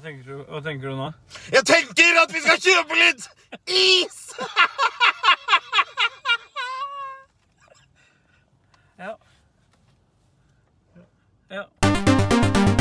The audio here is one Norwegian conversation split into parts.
tenker du, hva tenker du nå? Jeg tenker at vi skal kjøpe litt is! Ja. Ja.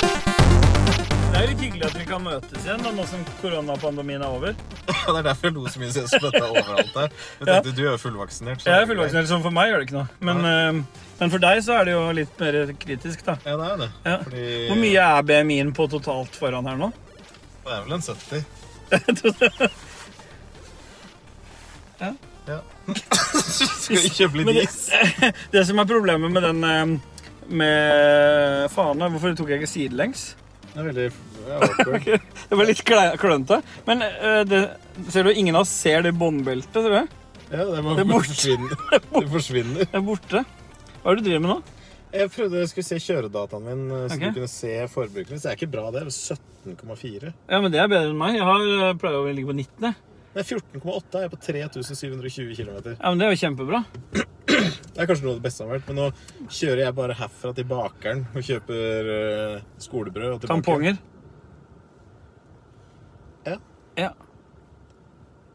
Det er litt hyggelig at vi kan møtes igjen da, nå som koronapandemien er over. Ja, det er derfor jeg lo så mye så jeg spytta overalt der. Jeg tenkte, du er jo fullvaksinert. så Jeg er det greit. fullvaksinert, så for meg gjør det ikke noe. Men, eh, men for deg så er det jo litt mer kritisk, da. Ja, det er jo det. Ja. Fordi Hvor mye er BMI-en på totalt foran her nå? Det er vel en 70. Ja. ja. skal vi kjøpe Men litt det, is? det som er problemet med den eh, med Faen, hvorfor tok jeg ikke sidelengs? Det er veldig det er awkward. Det var litt kle- klønete. Men eh, det, ser du, ingen av oss ser det båndbeltet, ser du det? Ja, det, bare Det er borte. forsvinner. det forsvinner. Det er borte. Hva er det du driver med nå? Jeg prøvde jeg skulle se kjøredataen min, eh, så Ok. du kunne se forbruket mitt. Det er ikke bra, det. er vel 17,4. Ja, men Det er bedre enn meg. Jeg har, eh, pleier å ligge på 19. Jeg. Nei, 14,8 er jeg på 3720 km. Ja, men Det er jo kjempebra. Det er kanskje noe av det beste jeg har vært, men nå kjører jeg bare herfra til bakeren og kjøper eh, skolebrød. Og tilbake. Tamponger. Ja. ja.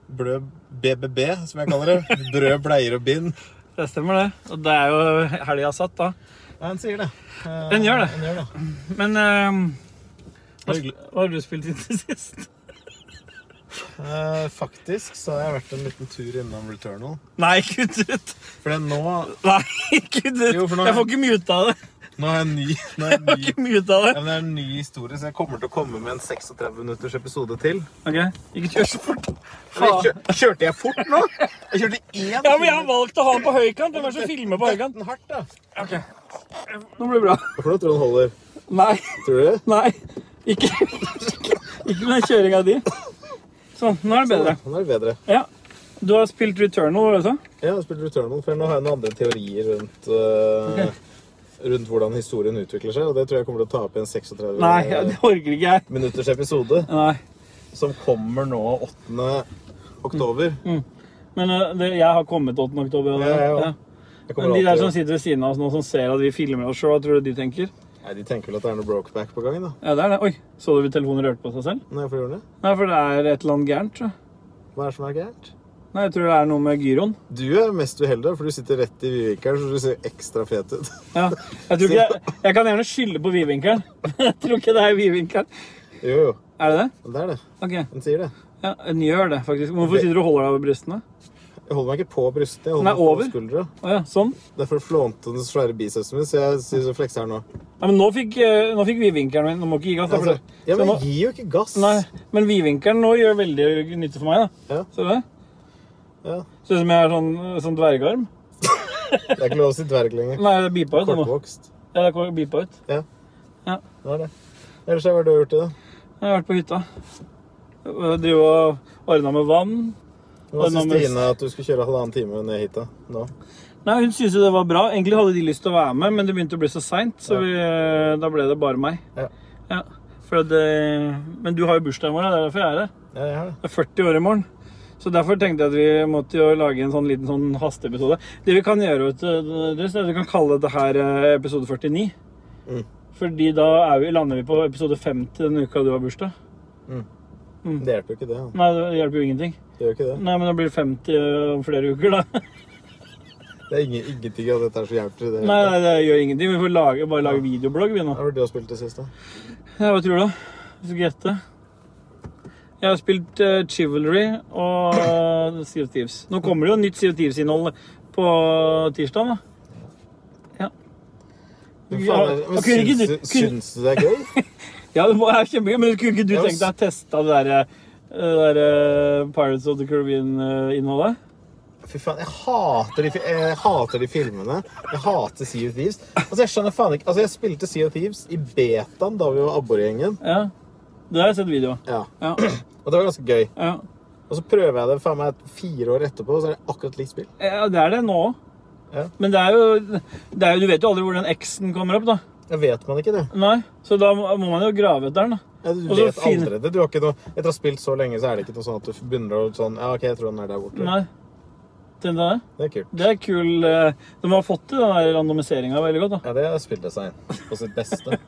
Blød BBB, som jeg kaller det. Brød, bleier og bind. Det stemmer, det. Og det er jo helga satt, da. Nei, han sier det. Eh, Den gjør det. Den gjør det. Men eh, Det var hyggelig. hva har du spilt inn til sist? Eh, faktisk så har jeg vært en liten tur innom Returnal. Nei, kutt ut! For det er nå, Nei, kutt ut! Jo, for nå- Jeg får ikke muta det. nå har jeg en ny, nå har jeg Jeg en får ny ikke muta det. Ja, men Det er en ny historie, så jeg kommer til å komme med en 36 minutters episode til. Ok, ikke kjør så fort. Men Faen. jeg kjø- Kjørte jeg fort nå? Jeg kjørte én Ja, men jeg har valgt å ha den på høykant. Hvem er det som filmer på høykant? Den hardt, da. Ok. Nå blir det bra. Hvorfor tror du den holder? Nei. Tror du det? Nei. Ikke, ikke, ikke med den kjøringa di. Sånn, nå er det bedre. Nå er det bedre. Ja. Du har spilt Returnal, var det så? Ja, Jeg har spilt Returnal, for nå har jeg noen andre teorier rundt eh, Rundt hvordan historien utvikler seg, og det tror jeg kommer til å ta opp i en 36 Nei, det orker ikke jeg. minutters episode. Nei. Som kommer nå 8. oktober. Mm. Men eh, det, jeg har kommet 8. oktober. Ja, jeg også. ja. Jeg Men kommer de der alltid- som sitter ved siden av oss nå, som ser at vi filmer oss sjøl, hva tror du de tenker? Nei, De tenker vel at det er noe brokeback på gang, da. Ja, det er det. Oi, så du telefonen rørte på seg selv? Når jeg får gjøre det. Nei, for det er et eller annet gærent, tror jeg. Hva er det som er gærent? Nei, jeg tror det er noe med gyroen. Du er mest uheldig, for du sitter rett i vidvinkelen, så du ser ekstra fet ut. Ja. Jeg, tror ikke jeg, jeg kan gjerne skylde på vidvinkelen, men jeg tror ikke det er vidvinkelen. Jo, jo. Er det det? Det er det. OK. Den sier det. Ja, den gjør det, faktisk. Hvorfor sitter du og holder deg over brystene? Jeg holder meg ikke på brystet. Jeg Den er holder meg over. på skuldra. Å ja, sånn? Det er for å flånte den svære bicepsen min, så jeg sier så flekser her nå. Nei, men nå fikk, eh, nå fikk vidvinkelen min Nå må ikke gi gass. da, for Altså, det- ja, så men nå- jeg gir jo ikke gass. Nei, men vidvinkelen nå gjør veldig nytte for meg, da. Ja. Ser du det? Ja. Ser ut som jeg har sånn, sånn dvergarm. Det er ikke lov å si dverg lenger. Nei, det beepa ut. det nå. Kortvokst. Ja, det kom beepa ut. Det er det. Ellers har jeg vært og gjort i dag. Jeg har vært på hytta. Jeg Driver og ordna med vann. Hva Og nå syns må- Tina at du skulle kjøre halvannen time ned hit da? Nå? Nei, Hun syntes jo det var bra. Egentlig hadde de lyst til å være med, men det begynte å bli så seint, så vi, eh, da ble det bare meg. Ja. Ja, for det, men du har jo bursdag i morgen, det er derfor jeg er her. Ja, jeg har det. Det er 40 år i morgen. Så derfor tenkte jeg at vi måtte jo lage en sånn liten sånn hasteepisode. Det vi kan gjøre, vet du, Dres, er at vi kan kalle dette her eh, episode 49. Mm. Fordi da er vi, lander vi på episode 50 den uka du har bursdag. Det hjelper jo ikke det. da. Nei, det hjelper jo ingenting. Det gjør ikke det. Nei, men da blir det 50 om flere uker, da. Det er ingen, ingenting av dette her som hjelper i det. Nei, nei, det gjør ingenting. Vi får lage, bare lage videoblogg, vi nå. Hva var det du har spilt det siste? Ja, hva tror du? da? Jeg skal gjette. Jeg har spilt eh, Chivalry og eh, Sea of Thieves. Nå kommer det jo nytt Sea of Thieves-innhold på tirsdag, da. Ja. Ja, Men faen, men og kunne ikke syns, du- du, kunne- syns du det er gøy? Ja, det må- er kjempegøy, men kunne ikke du Ja, men tenkt deg å teste det derre der, eh, Pirates of the eh, Caribbean-innholdet? Fy faen, jeg hater de, fi- jeg hater de filmene. Jeg hater Sea of Thieves. Altså, jeg skjønner faen ikke Altså, jeg spilte Sea of Thieves i betaen da vi var abborgjengen. Ja. Det har jeg sett video av. Ja. Ja, Og det var ganske gøy. ja. Og så prøver jeg det faen meg fire år etterpå, og så er det akkurat likt spill. ja, det er det nå òg. Ja. Men det er, jo, det er jo Du vet jo aldri hvor den X-en kommer opp, da. Jeg vet man ikke det. Nei, så da må må man jo grave etter den. da. Ja, Du Og så vet fin- aldri det. Du har ikke noe, etter å ha spilt så lenge, så er det ikke noe sånn at du begynner å sånn Ja, OK, jeg tror den er der borte. Nei. Den der. Det er kult. Det er kul eh, De har fått til den der randomiseringa veldig godt, da. Ja, det er spilldesign på sitt beste.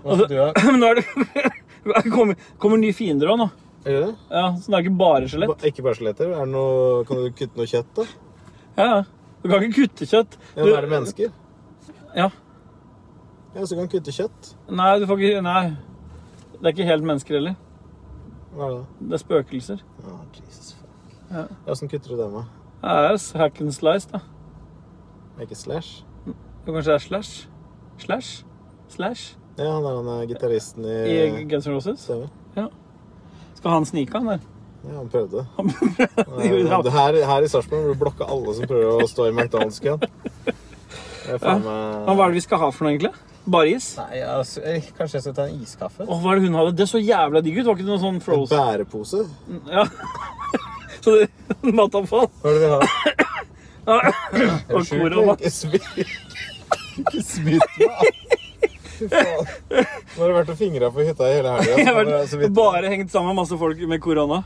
Altså- Altså, du er, Men nå er det det kommer, kommer nye fiender òg nå. gjør du det? Ja, så det er ikke bare skjelett. Ba- Ikke bare skjeletter. Er det noe, kan du kutte noe kjøtt, da? Ja, ja. Du kan ikke kutte kjøtt. Ja, nå er det mennesker. Ja. Ja, så du kan kutte kjøtt. Nei, du får ikke Nei. Det er ikke helt mennesker heller. Hva er det da? Det er spøkelser. Å, Jesus fuck. Ja. Ja, Åssen kutter du det med? Det er hack and slice, da. Med Ikke slash? Det kanskje er slash? Slash? Slash? Ja, han er han eh, gitaristen i I Guns N' Roses? Stemmer. Skal han snike, han der? Ja, han prøvde. gjorde Eh, han. Det her, her i Sarpsborg må du blokke alle som prøver å stå i McDonald's-køen. Det er faen meg- Men Hva er det vi skal ha for noe, egentlig? Bare is? Åh, Nei, altså, eh, kanskje jeg skal ta en iskaffe? hva er det hun hadde? Det så jævla digg ut. Var ikke det noe sånn En frozen? bærepose? Ja. Så det Matavfall. Hva er det vi har? Og korona. Ikke smitt Ikke smitt meg! ass. Fy faen. Nå har du vært og fingra på hytta i hele helga. Jeg så har bare- så vært vidt- bare hengt sammen med masse folk med korona.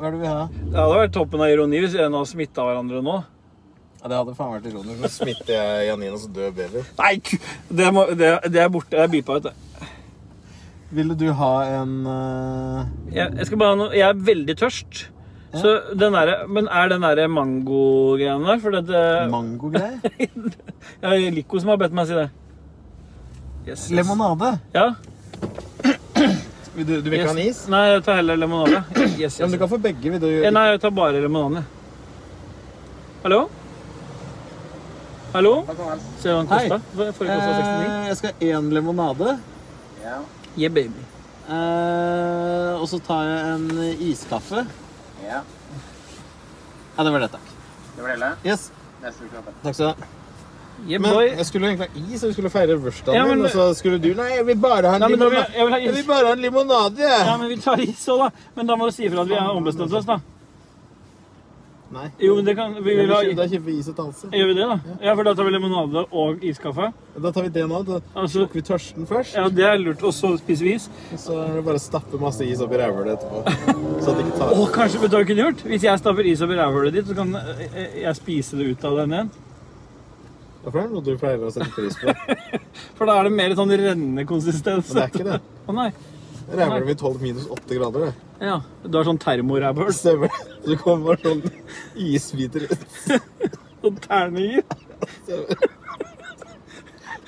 Hva er det vi har? Det hadde vært toppen av ironi hvis en hadde smitta hverandre nå. Ja, det hadde faen vært ironisk. Nå smitter jeg Janine, og så dør baby. Nei, ku- det, må, det, det er borte. Jeg beepa ut, det. Ville du ha en eh, Jeg, jeg skal bare ha noe Jeg er veldig tørst. Så den der, men er den derre mango-greien der? For det, det mangogreie? Jeg er Lico som har bedt meg si det. Yes, yes. Lemonade? Ja. Vil du, du yes. vil ikke ha en is? Nei, jeg tar heller lemonade. Yes, yes. Ja, men du kan få begge. Vil du Eh, Nei, jeg tar bare lemonade. Hallo? Hallo? Ser du han Hei. kosta? Forrige kosta 69. Eh, jeg skal ha én lemonade. Yeah, baby. eh, og så tar jeg en iskaffe. Ja, Ja, det var det, takk. det var det hele. Yes. Neste uke. Takk skal du ha. Yeah, Men boy. jeg skulle jo egentlig ha is, og vi skulle feire bursdagen Ja, men- din, og så skulle du Nei, jeg vil bare ha en Nei, men da vil jeg, limonade. jeg vil ha Jeg vil is. bare ha en limonade, jeg. Ja, men vi tar is òg, da. Men da må du si ifra at vi har ombestemt oss, da. Nei. Jo, men det kan Vi vil ha kjøper- Da kjøper vi is og tanse. Gjør vi det, da? Ja, for da tar vi limonade og iskaffe. Da tar vi det nå. Da Altså, slukker vi tørsten først, ja, det er lurt. Og så spiser vi is. og så er det bare å stappe masse is opp i rævhølet etterpå. Så at det ikke tar Å, kanskje vet du hva vi kunne gjort? Hvis jeg stapper is oppi rævhølet ditt, så kan eh, eh, jeg spise det ut av den igjen. Hvorfor er det noe du pleier å sette pris på? Men For da er det mer sånn rennende konsistens. det er ikke det. Å nei. Rævhølet blir 12 minus 8 grader, det. Ja, Du har sånn termorævhøl. Stemmer det. Så det kommer bare sånn isbiter ut. Sånn terninger.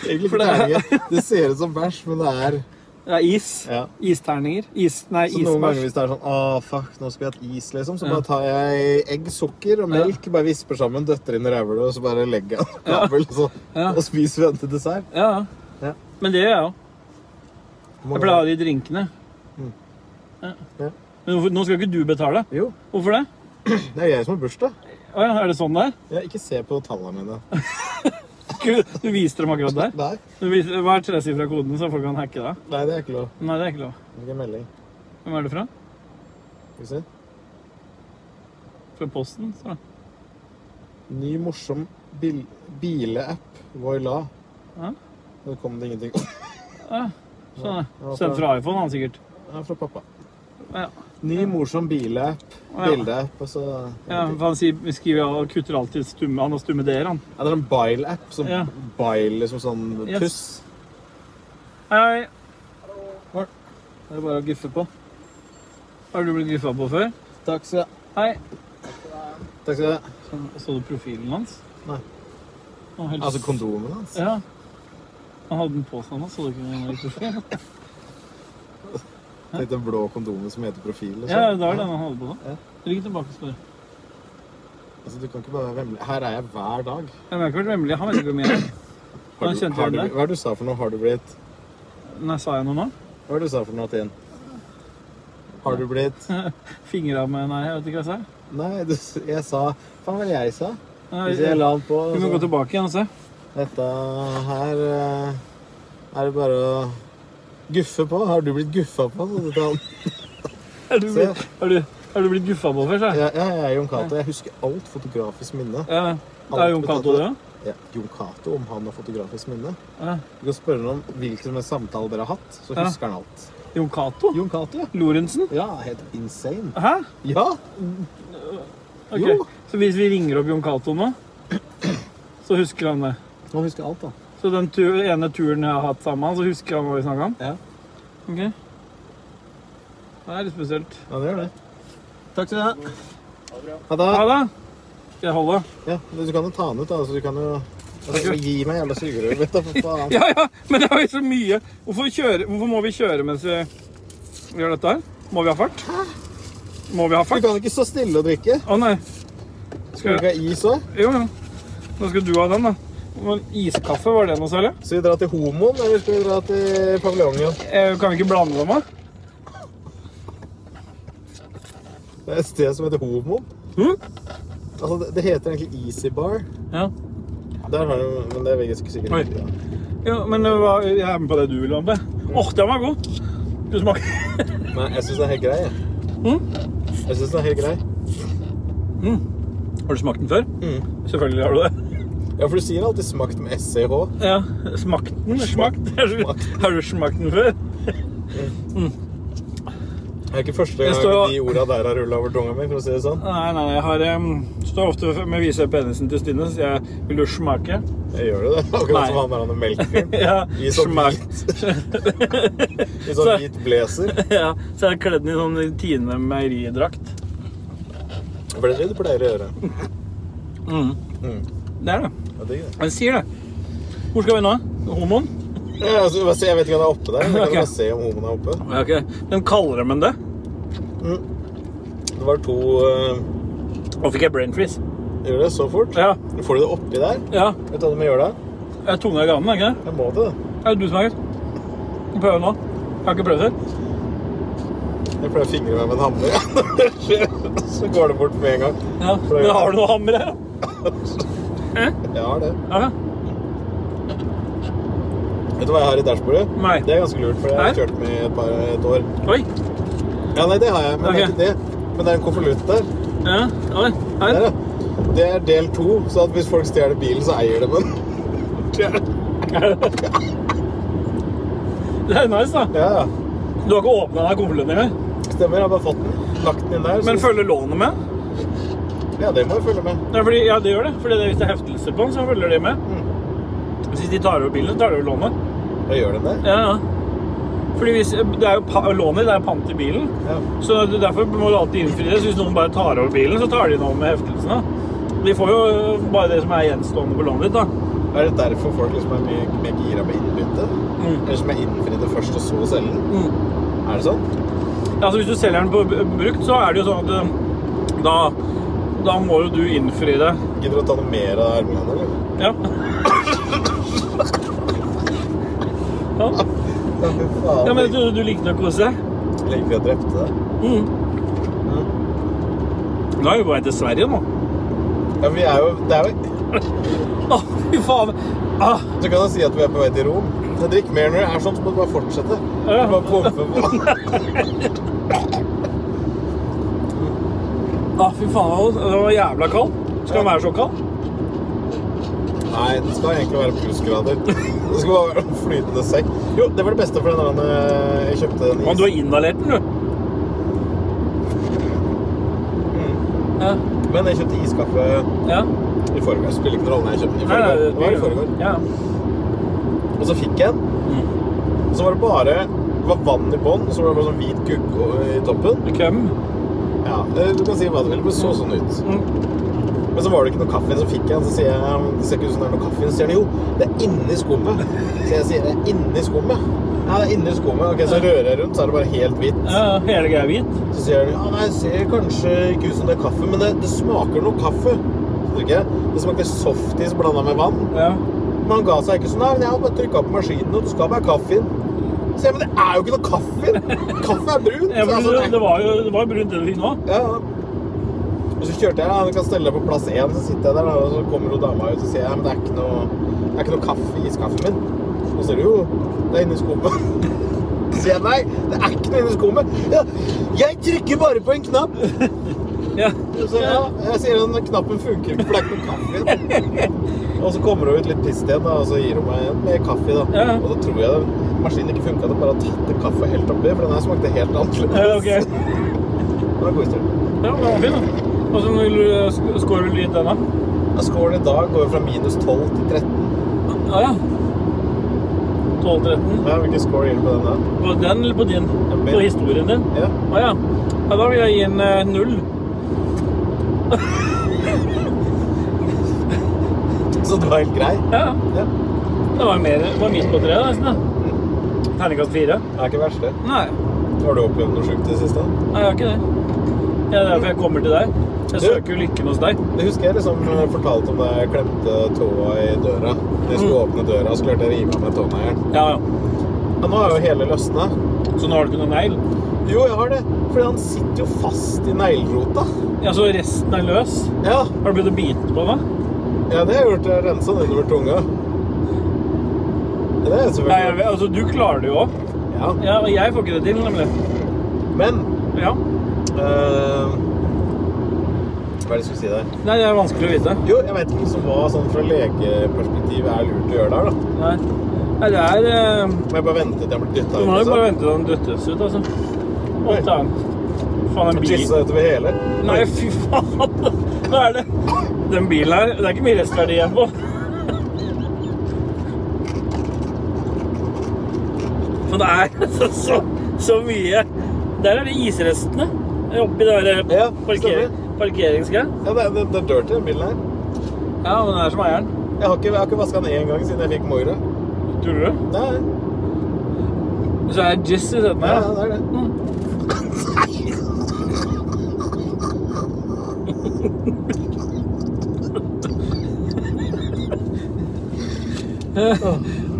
Egentlig For det er- terninger. Det ser ut som bæsj, men det er Det er is. ja. Isterninger. Is, nei, Så noen ganger isbæsj. hvis det er sånn Å, fuck, nå skal vi ha et is, liksom, så Ja. bare tar jeg egg, sukker og melk, bare visper sammen, døtter inn i rævhølet, og så bare legger jeg en Ja. kabel, så, Ja. og spiser vi den til dessert. Ja, ja. Ja. Men det gjør jeg òg. Jeg pleier å ha de drinkene. Mm. Ja. Ja. Men hvorfor, nå skal ikke du betale. Jo, Hvorfor det? det er jeg som har bursdag. Å ja, er det sånn det er? Ja, ikke se på tallene mine. Gud, Du viste dem akkurat der. Nei, Du viser, hva er tresifra koden, så folk kan hacke deg? nei, det er ikke lov. Nei, det er ikke lov. Hvilken melding? Hvem er det fra? Skal vi se. Fra Posten? står det. Ny morsom bil bileapp, Voila. Ja. Nå kom det ingenting. Sånn, ja. Ja, Sendt fra- fra iPhone, han sikkert. Ja, fra pappa. Ja. Ny morsom bileapp, Ja. bildeapp, og så Ja, for han sier, skriver ja, og kutter alltid stumme Han har stumme d-er, han. Ja, det er en bile-app, som Ja. bile, liksom sånn Yes. puss. Hei, Det er bare å guffe på. har du blitt griffa på før? Takk skal du ha. Hei. Takk skal du ha. Så, så du profilen hans? Nei. Han helt- Altså kondomen hans. Ja. Han hadde den på seg nå, så du ikke noe profil? Litt den blå kondomen som heter profil. og Ja, sånn. det var den han hadde på Ja. nå. Rygg tilbake og spør. Altså, du kan ikke bare vemle. Her er jeg hver dag. Jeg har ikke vært vemmelig. Han vet ikke hvor mye jeg er. Han du, kjente har igjen du, deg. hva er det du sa for noe? Har du blitt? Nei, sa jeg noe nå? Hva er det du sa for noe, Tien? Har du blitt? Fingra med Nei, jeg vet ikke hva jeg sa. Nei, du, s- jeg sa... Faen, hva var det jeg sa? Nei, Hvis jeg la den på... Vi må gå Så, tilbake igjen og se. dette her... eh, Er det bare å... Guffe på? Har du blitt guffa på? Så du kan- Er du, Se. er du, er du blitt guffa på før, sa jeg? Ja, ja, jeg er Jon Cato. Jeg husker alt fotografisk minne. Ja. Det er Jon Cato, det òg? ja, Jon Cato om han har fotografisk minne. Ja. Du kan spørre ham om hvilken som helst samtale dere har hatt, så Ja. husker han alt. Jon Cato? Jon Cato, ja. Lorentzen? Ja, helt insane. Hæ? Ja! Ok. Jo. Så hvis vi ringer opp Jon Cato nå, så husker han det. Han husker alt, da. Så den tu ene turen jeg har hatt sammen, så husker han hva vi snakka om? Ja. Ok. Det er litt spesielt. Ja, det gjør det. Takk skal du ha. Ha det. Ha det. Skal jeg holde? Ja, men du kan jo ta den ut, da. Så du kan jo altså, Takk. Gi meg jævla sugerøret mitt, da, for faen. Ja, ja, men det er jo så mye. Hvorfor, kjøre, hvorfor må vi kjøre mens vi gjør dette her? Må vi ha fart? Må vi ha Du fart? kan ikke stå stille og drikke. Å nei. Skal Skal du jeg? ikke ha is òg? Jo, jo. Nå skal du ha den, da. Men iskaffe, var det noe særlig? Skal vi dra til Homoen, eller skal vi dra til paviljongen? Eh, Kan vi ikke blande dem, da? Det er et sted som heter Homoen. Hm? Altså, det, det heter egentlig Easy Bar. Ja. Der har du, men det er jeg ikke sikkert Oi. ikke. da. ja. Men eh, hva- jeg er med på det du vil ha med. Åh, den var god. Du smaker Men jeg syns den er helt grei. jeg. Mm. Jeg syns den er helt grei. Har du smakt den før? Selvfølgelig har du det. Ja, for du sier alltid 'smakt med E SCH'. Ja, smakt den? Smakt? Har du, har du smakt den før? Det er ikke første gang Jeg står- de orda der har rulla over tunga mi, for å si det sånn. Nei, nei, jeg har em, står ofte med å vise penisen til Stine, så jeg vil jo smake. Jeg gjør det, det. Akkurat Nei. som han der han melkfyren. Ja, I sånn smak. hvit I sånn Så- hvit blazer. Ja, så jeg er kledd den i sånn Tine meieridrakt. For det er det du pleier å gjøre. Mm. Mm. Det er det. Ja, det er det. Jeg sier det. Hvor skal vi nå? Homoen? Ja, altså, bare se, jeg vet ikke om det er oppe der. men Jeg Ok. kan bare se om homoen er oppe. Ja, ok. Den kaller dem enn det. Mm. Det var to eh, Og fikk jeg brain freeze. Gjør det så fort? Ja, Får du det oppi der? ja. Vet du hva du må gjøre da? Jeg er tunga i ganen, er ikke det? Jeg må det, da. Er det du som smaker? Prøv nå. Jeg har ikke prøvd før. Jeg pleier å fingre meg med en hammer. Når det skjer, så går det bort med en gang. Ja. Men har du noe hammer her? Jeg har det. Ja, Vet du hva jeg har i dashbordet? Nei. Det er ganske lurt, for jeg Her? har kjørt med i et, par, et år. Oi. Ja, nei, det har jeg, men det Ok. er ikke det. Men det er en konvolutt der. Ja, oi. Her. Der, ja. Det er del to, så at hvis folk stjeler bilen, så eier de den. Det er nice, da. Ja, ja. Du har ikke åpna deg konvolutten engang. Stemmer. Jeg har bare fått den. Lagt den inn der. Men så... følger lånet med? Ja, det må jeg følge med. Ja, fordi, ja, det gjør det. Fordi det, hvis det er heftelser på den, så følger det med. Hvis de tar over bilen, så tar de over lånet. Jeg gjør den det. Ja, ja. Fordi hvis, det er jo pa lånet det er pant i bilen, Ja. så det- derfor må du alltid innfri det. Så hvis noen bare tar over bilen, så tar de den over med heftelsene. De får jo bare det som er gjenstående på lånet ditt, da. Er det derfor folk liksom er mye mer gira på innbytte? Eller som er innfridde først og så selge den? Mm. Er det sånn? Altså, hvis du selger den på b- brukt, så er det jo sånn at eh, da, da må jo du innfri det. Gidder du å ta noe mer av ermene, eller? Ja. ja. Ja, fy faen. Ja, men du, du likte å kose deg? Lenge før jeg drepte deg. Mm. Nå er vi på vei til Sverige nå. Ja, men vi er jo, det er jo... Å, fy faen! Ah, Så kan jeg si at vi er på vei til Rom. Så drikk mer når det er sånn, så må du bare fortsette. Ja. Bare pumpe på. ah, fy faen, det var jævla kald. Skal den være så kald? Nei, det skal egentlig være plussgrader. Det skal bare være en flytende sekk. Jo, det var det beste for den dagen eh, jeg kjøpte den Men is. du har inhalert den, du. Ja. Mm. Men jeg kjøpte iskaffe ja. i forgår. Spiller ikke noen rolle når jeg kjøpte den i forgår. Det var i forgår. Ja. Og så fikk jeg den. Og så var det bare det var vann i bånn, og så var det bare sånn hvit gugg i toppen. Køm. Ja, eh, Du kan si hva du vil, men det så sånn ut. Mm. Men så var det ikke noe kaffe, så fikk jeg den. Så sier jeg det ser ikke ut som det er noe kaffe. Så sier han jo, det er inni skummet. Så jeg sier det er inni skummet. Ja, det er inni skummet. Ok, Så rører jeg rundt, så er det bare helt hvitt. Ja, hele greia er hvit. Så sier han ja, nei, det ser kanskje ikke ut som det er kaffe, men det, det smaker noe kaffe. Så drikker jeg. Det smaker softis blanda med vann. Ja. Men han ga seg ikke sånn. Nei, men jeg har bare trykka på maskinen, og det skal være kaffe i den. Så jeg, men det er jo ikke noe kaffe i den! Kaffe er brunt! ja men Altså, det, det er- det var jo det var jo brunt, det du fikk nå. ja. ja. Og så kjørte jeg, ja, du kan stelle deg på plass én, så sitter jeg der, da, og så kommer hun dama ut og sier ja, men det er ikke noe, det er ikke noe kaffe i iskaffen min. Og så sier du jo, det er inni skummet. Så sier jeg nei, det er ikke noe inni skummet. Ja, jeg trykker bare på en knapp. Ja. Så ja, jeg sier den knappen funker ikke, for det er ikke noe kaffe i den. Og så kommer det ut litt piss igjen, da, og så gir hun meg en med kaffe. i, da. Ja. Og da tror jeg den maskinen ikke funka. Den bare har tatt en kaffe helt oppi, for den her smakte helt annerledes. Ja, ok. Det var en god historie. Ja, den var fin, da. Åssen vil du eh, sk- scorer du litt den, da? Ja, Scoren i dag går jo fra minus 12 til 13. Ja, ja. 12-13. Ja, Hvilken score gir du på den? På den eller på din? min. På historien din? da? Ja. Å ja. ja. Da vil jeg gi en eh, null. Så det var helt grei. Ja, ja. Ja. det var jo mer det var midt på treet, nesten. da. Terningkast fire? Det er ikke verst, det. Nei. Har du opplevd noe sjukt i det siste? Nei, jeg har ikke det. Ja, Det er derfor jeg kommer til deg. Jeg Du- søker jo lykken hos deg. Det husker jeg liksom fortalte om da jeg klemte tåa i døra. Når jeg Mm. skulle åpne døra, så klarte jeg å rive av meg tåneglen. Ja, ja. Ja, nå er jo hele løsna. Så nå har du ikke noen negl? Jo, jeg har det. Fordi han sitter jo fast i neglrota. Ja, så resten er løs? Ja. Har du begynt å bite på den? da? ja, det har jeg gjort. Jeg har rensa den under tunga. Det er Nei, jeg, selvfølgelig vet- altså, du klarer det jo òg. Ja. Ja, og jeg får ikke det til, nemlig. Men Ja. eh, Hva er det jeg skulle si der? Nei, det er vanskelig å vite. Jo, jeg vet ikke liksom hva sånn fra legeperspektiv er lurt å gjøre der, da. Nei, Nei det er eh, Må jeg bare vente til jeg blir liksom? dytta Du må jo bare vente til den døttes ut, altså. Oi. Åtte annet. Faen, den bilen Tisse utover hele. Nei, fy faen! Hva er det? Den bilen her, det er ikke mye restverdi igjen på. For det er så, så, så mye Der er det isrestene oppi det der eh, Ja, parker, parkeringsgreia. Ja, det, er- det, det er dirty, den bilen her. Ja, men den er som eieren. Jeg har ikke, jeg har ikke vaska den én gang siden jeg fikk Moira. Tror du? Nei, Så er Jesse den ja, her. det er det.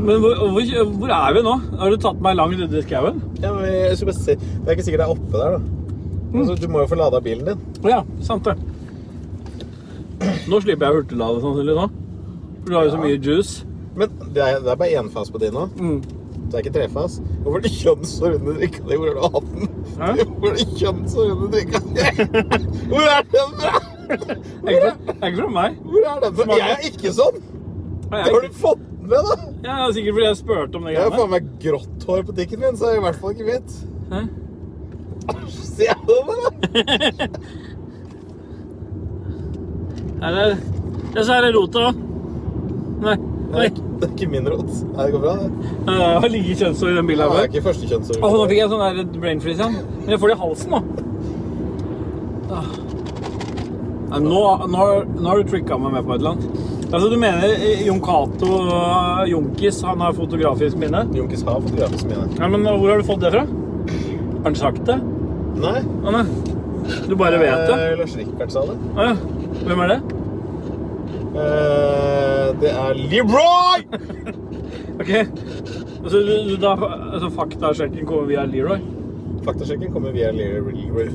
Men hvor, hvor, hvor er vi nå? Har du tatt meg langt ute i skauen? Ja, men jeg skulle bare si, det er ikke sikkert det er oppe der, da. Mm. Altså, du må jo få lada bilen din. Ja, sant det. Nå slipper jeg hurtiglade sannsynlig nå. For du har jo så Ja. mye juice. Men det er, det er bare énfas på din nå. Mm. Det er ikke trefas. Hvorfor er det kjønnsår under drikka di? Hvor er det hatt den? Hæ? Hvor er det kjønnsår under drikka di? Hvor er den fra? Det er ikke- det er ikke fra meg. Hvor er den fra? Jeg er ikke sånn! Nei, Det har Jeg, du fått med, da! ja, det er sikkert fordi jeg spurte om det Jeg har greiene. faen meg grått hår på dikken min, så jeg er i hvert fall ikke mitt. Hæ? Ser jeg det, da? Her er Ja, så er det rota òg. Nei. Det Nei. er, ikke- det er ikke min rot. Nei, Det går bra, det. Nei, Jeg har ligget kjønnshår i den bilen Det her er før. ikke første kjønnsår. Åh, nå fikk jeg sånn der brain freeze igjen. Men jeg får det i halsen nå. Ah. Nei, Nå, nå, har- nå har du tricka meg med på et eller annet. Altså, du mener eh, Jon Cato eh, Jonkis, han har fotografisk minne? Junkis har fotografen min. Ja, men eh, hvor har du fått det fra? Har han sagt det? Nei. Å, nei. Du bare vet det? Eh, Lars Rikard sa det. Å, ja. Hvem er det? Eh, det er Leroy! Ok. Altså, du, du, da, altså faktasjekken kommer via Leroy? Faktasjekken kommer via Leroy. Leroy.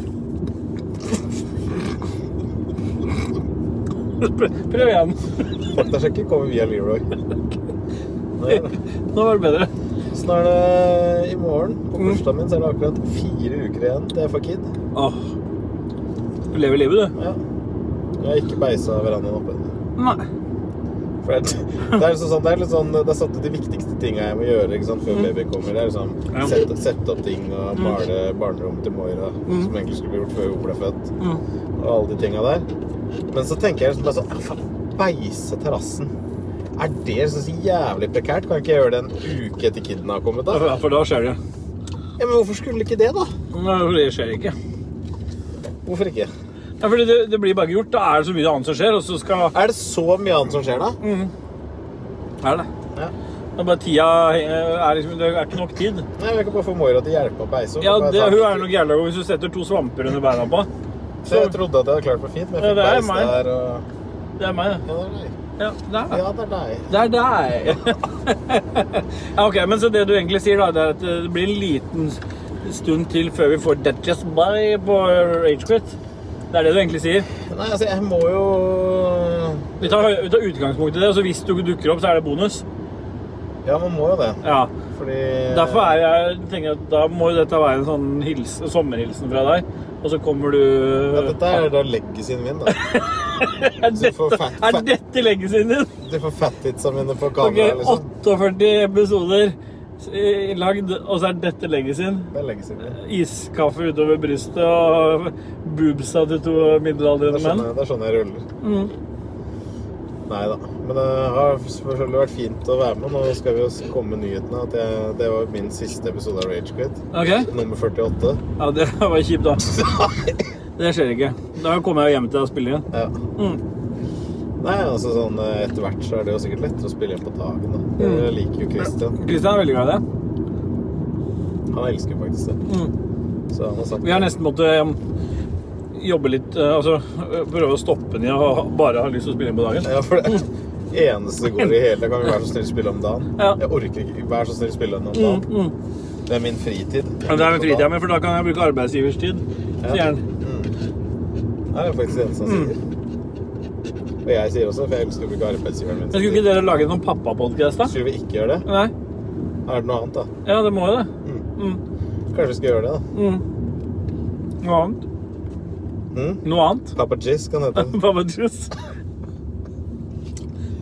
Prøv, prøv igjen. Faktasjekken kommer via Leroy. Nei, da. Nå var det bedre. Så nå er det i morgen. På bursdagen min så er det akkurat fire uker igjen til jeg får kid. Åh. Du lever livet, Ja. Jeg har ikke beisa verandaen opp ennå. du. Nei. For det, det er liksom sånn, det er litt sånn, det er satt ut de viktigste tinga jeg må gjøre ikke sant, før baby kommer. Det er liksom Mm. Ja. Mm. sette, sette opp ting og male barnerommet til Moira, som egentlig skulle bli gjort før hun ble født. Mm. Og alle de tinga der. Men så tenker jeg liksom bare sånn «Ah, faen, Beise terrassen. Er det så jævlig prekært? Kan ikke jeg gjøre det en uke etter kiden har kommet? da? Ja, for da skjer det. Ja, Men hvorfor skulle ikke det, da? Nei, for det skjer ikke. Hvorfor ikke? Ja, fordi det, det blir bare ikke gjort. Da er det så mye annet som skjer, og så skal Er det så mye annet som skjer da? Mm. Er det. Ja. Det er bare tida eh, er liksom, Det er ikke nok tid. Nei, men Jeg kan bare få Moira til å hjelpe å beise. og Ja, bare det, ta- Hun er nok jævla god hvis du setter to svamper under beina på henne. Så Jeg trodde at jeg hadde klart meg fint, men Ja, jeg fikk det er beis meg. der og Det er meg, det. Ja, det er deg. Ja, det er det. Ja, det er deg. Det er deg. ja, ok, men så det du egentlig sier, da, det er at eh, det blir en liten stund til før vi får That Just By på Ragequit. Det er det du egentlig sier. Nei, altså, jeg må jo Vi tar, vi tar utgangspunkt i det, og så hvis du dukker opp, så er det bonus. Ja, man må jo det. Ja. Fordi Derfor er jeg, tenker jeg at da må jo dette være en sånn hils- sommerhilsen fra deg. Og så kommer du ja, Dette er da legacyen min, da. Er Så for dette, fat- er fat- dette leggesen din? Du får fattitsa mine på Ok, kamera, liksom. 48 episoder eh, lagd, og så er dette leggesen. Det er legacyen min. Iskaffe utover brystet og boobsa til to Det middelaldrende er sånn menn. jeg, det er sånn jeg ruller. Mm. Nei da. Men det har selvfølgelig vært fint å være med. Nå skal vi jo komme med nyhetene. At jeg, det var min siste episode av Rage Quit. Ok, Nummer 48. ja, det var kjipt da. Det skjer ikke. Da kommer jeg jo hjem til deg og spiller igjen. Ja. Mm. Nei, altså sånn eh, etter hvert så er det jo sikkert lettere å spille inn på dagen, da. Det Mm. liker jo Christian. Kristian er veldig glad i det. Han elsker faktisk det. Mm. Så han har sagt Vi har nesten måttet um, jobbe litt, eh, altså eh, prøve å stoppe den i å bare ha lyst til å spille inn på dagen. Ja, for det eneste det går i hele Kan vi være så snill spille om dagen? Ja. Jeg orker ikke. Vær så snill spille om dagen. Mm, mm. Det er min fritid. Men det er med fritida mi, for da kan jeg bruke arbeidsgivers tid. Ja. Sier han. Det er det faktisk det eneste han Mm. sier. Og jeg sier også, for jeg elsker jo ikke arbeidsgiveren min. Men skulle ikke dere lage noen pappapodkast, da? Skulle vi ikke gjøre det? Nei? Er det noe annet, da? Ja, det må jo det. Mm. Kanskje vi skal gjøre det, da? Mm. Noe annet? Mm? Noe annet? Papa Jizz kan hete. Pappajus.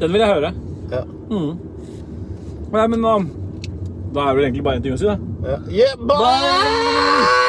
Den vil jeg høre. um, Ja. Mm. Nei, men da Da er det vel egentlig bare en ting å si, da. ja. Yeah, bye!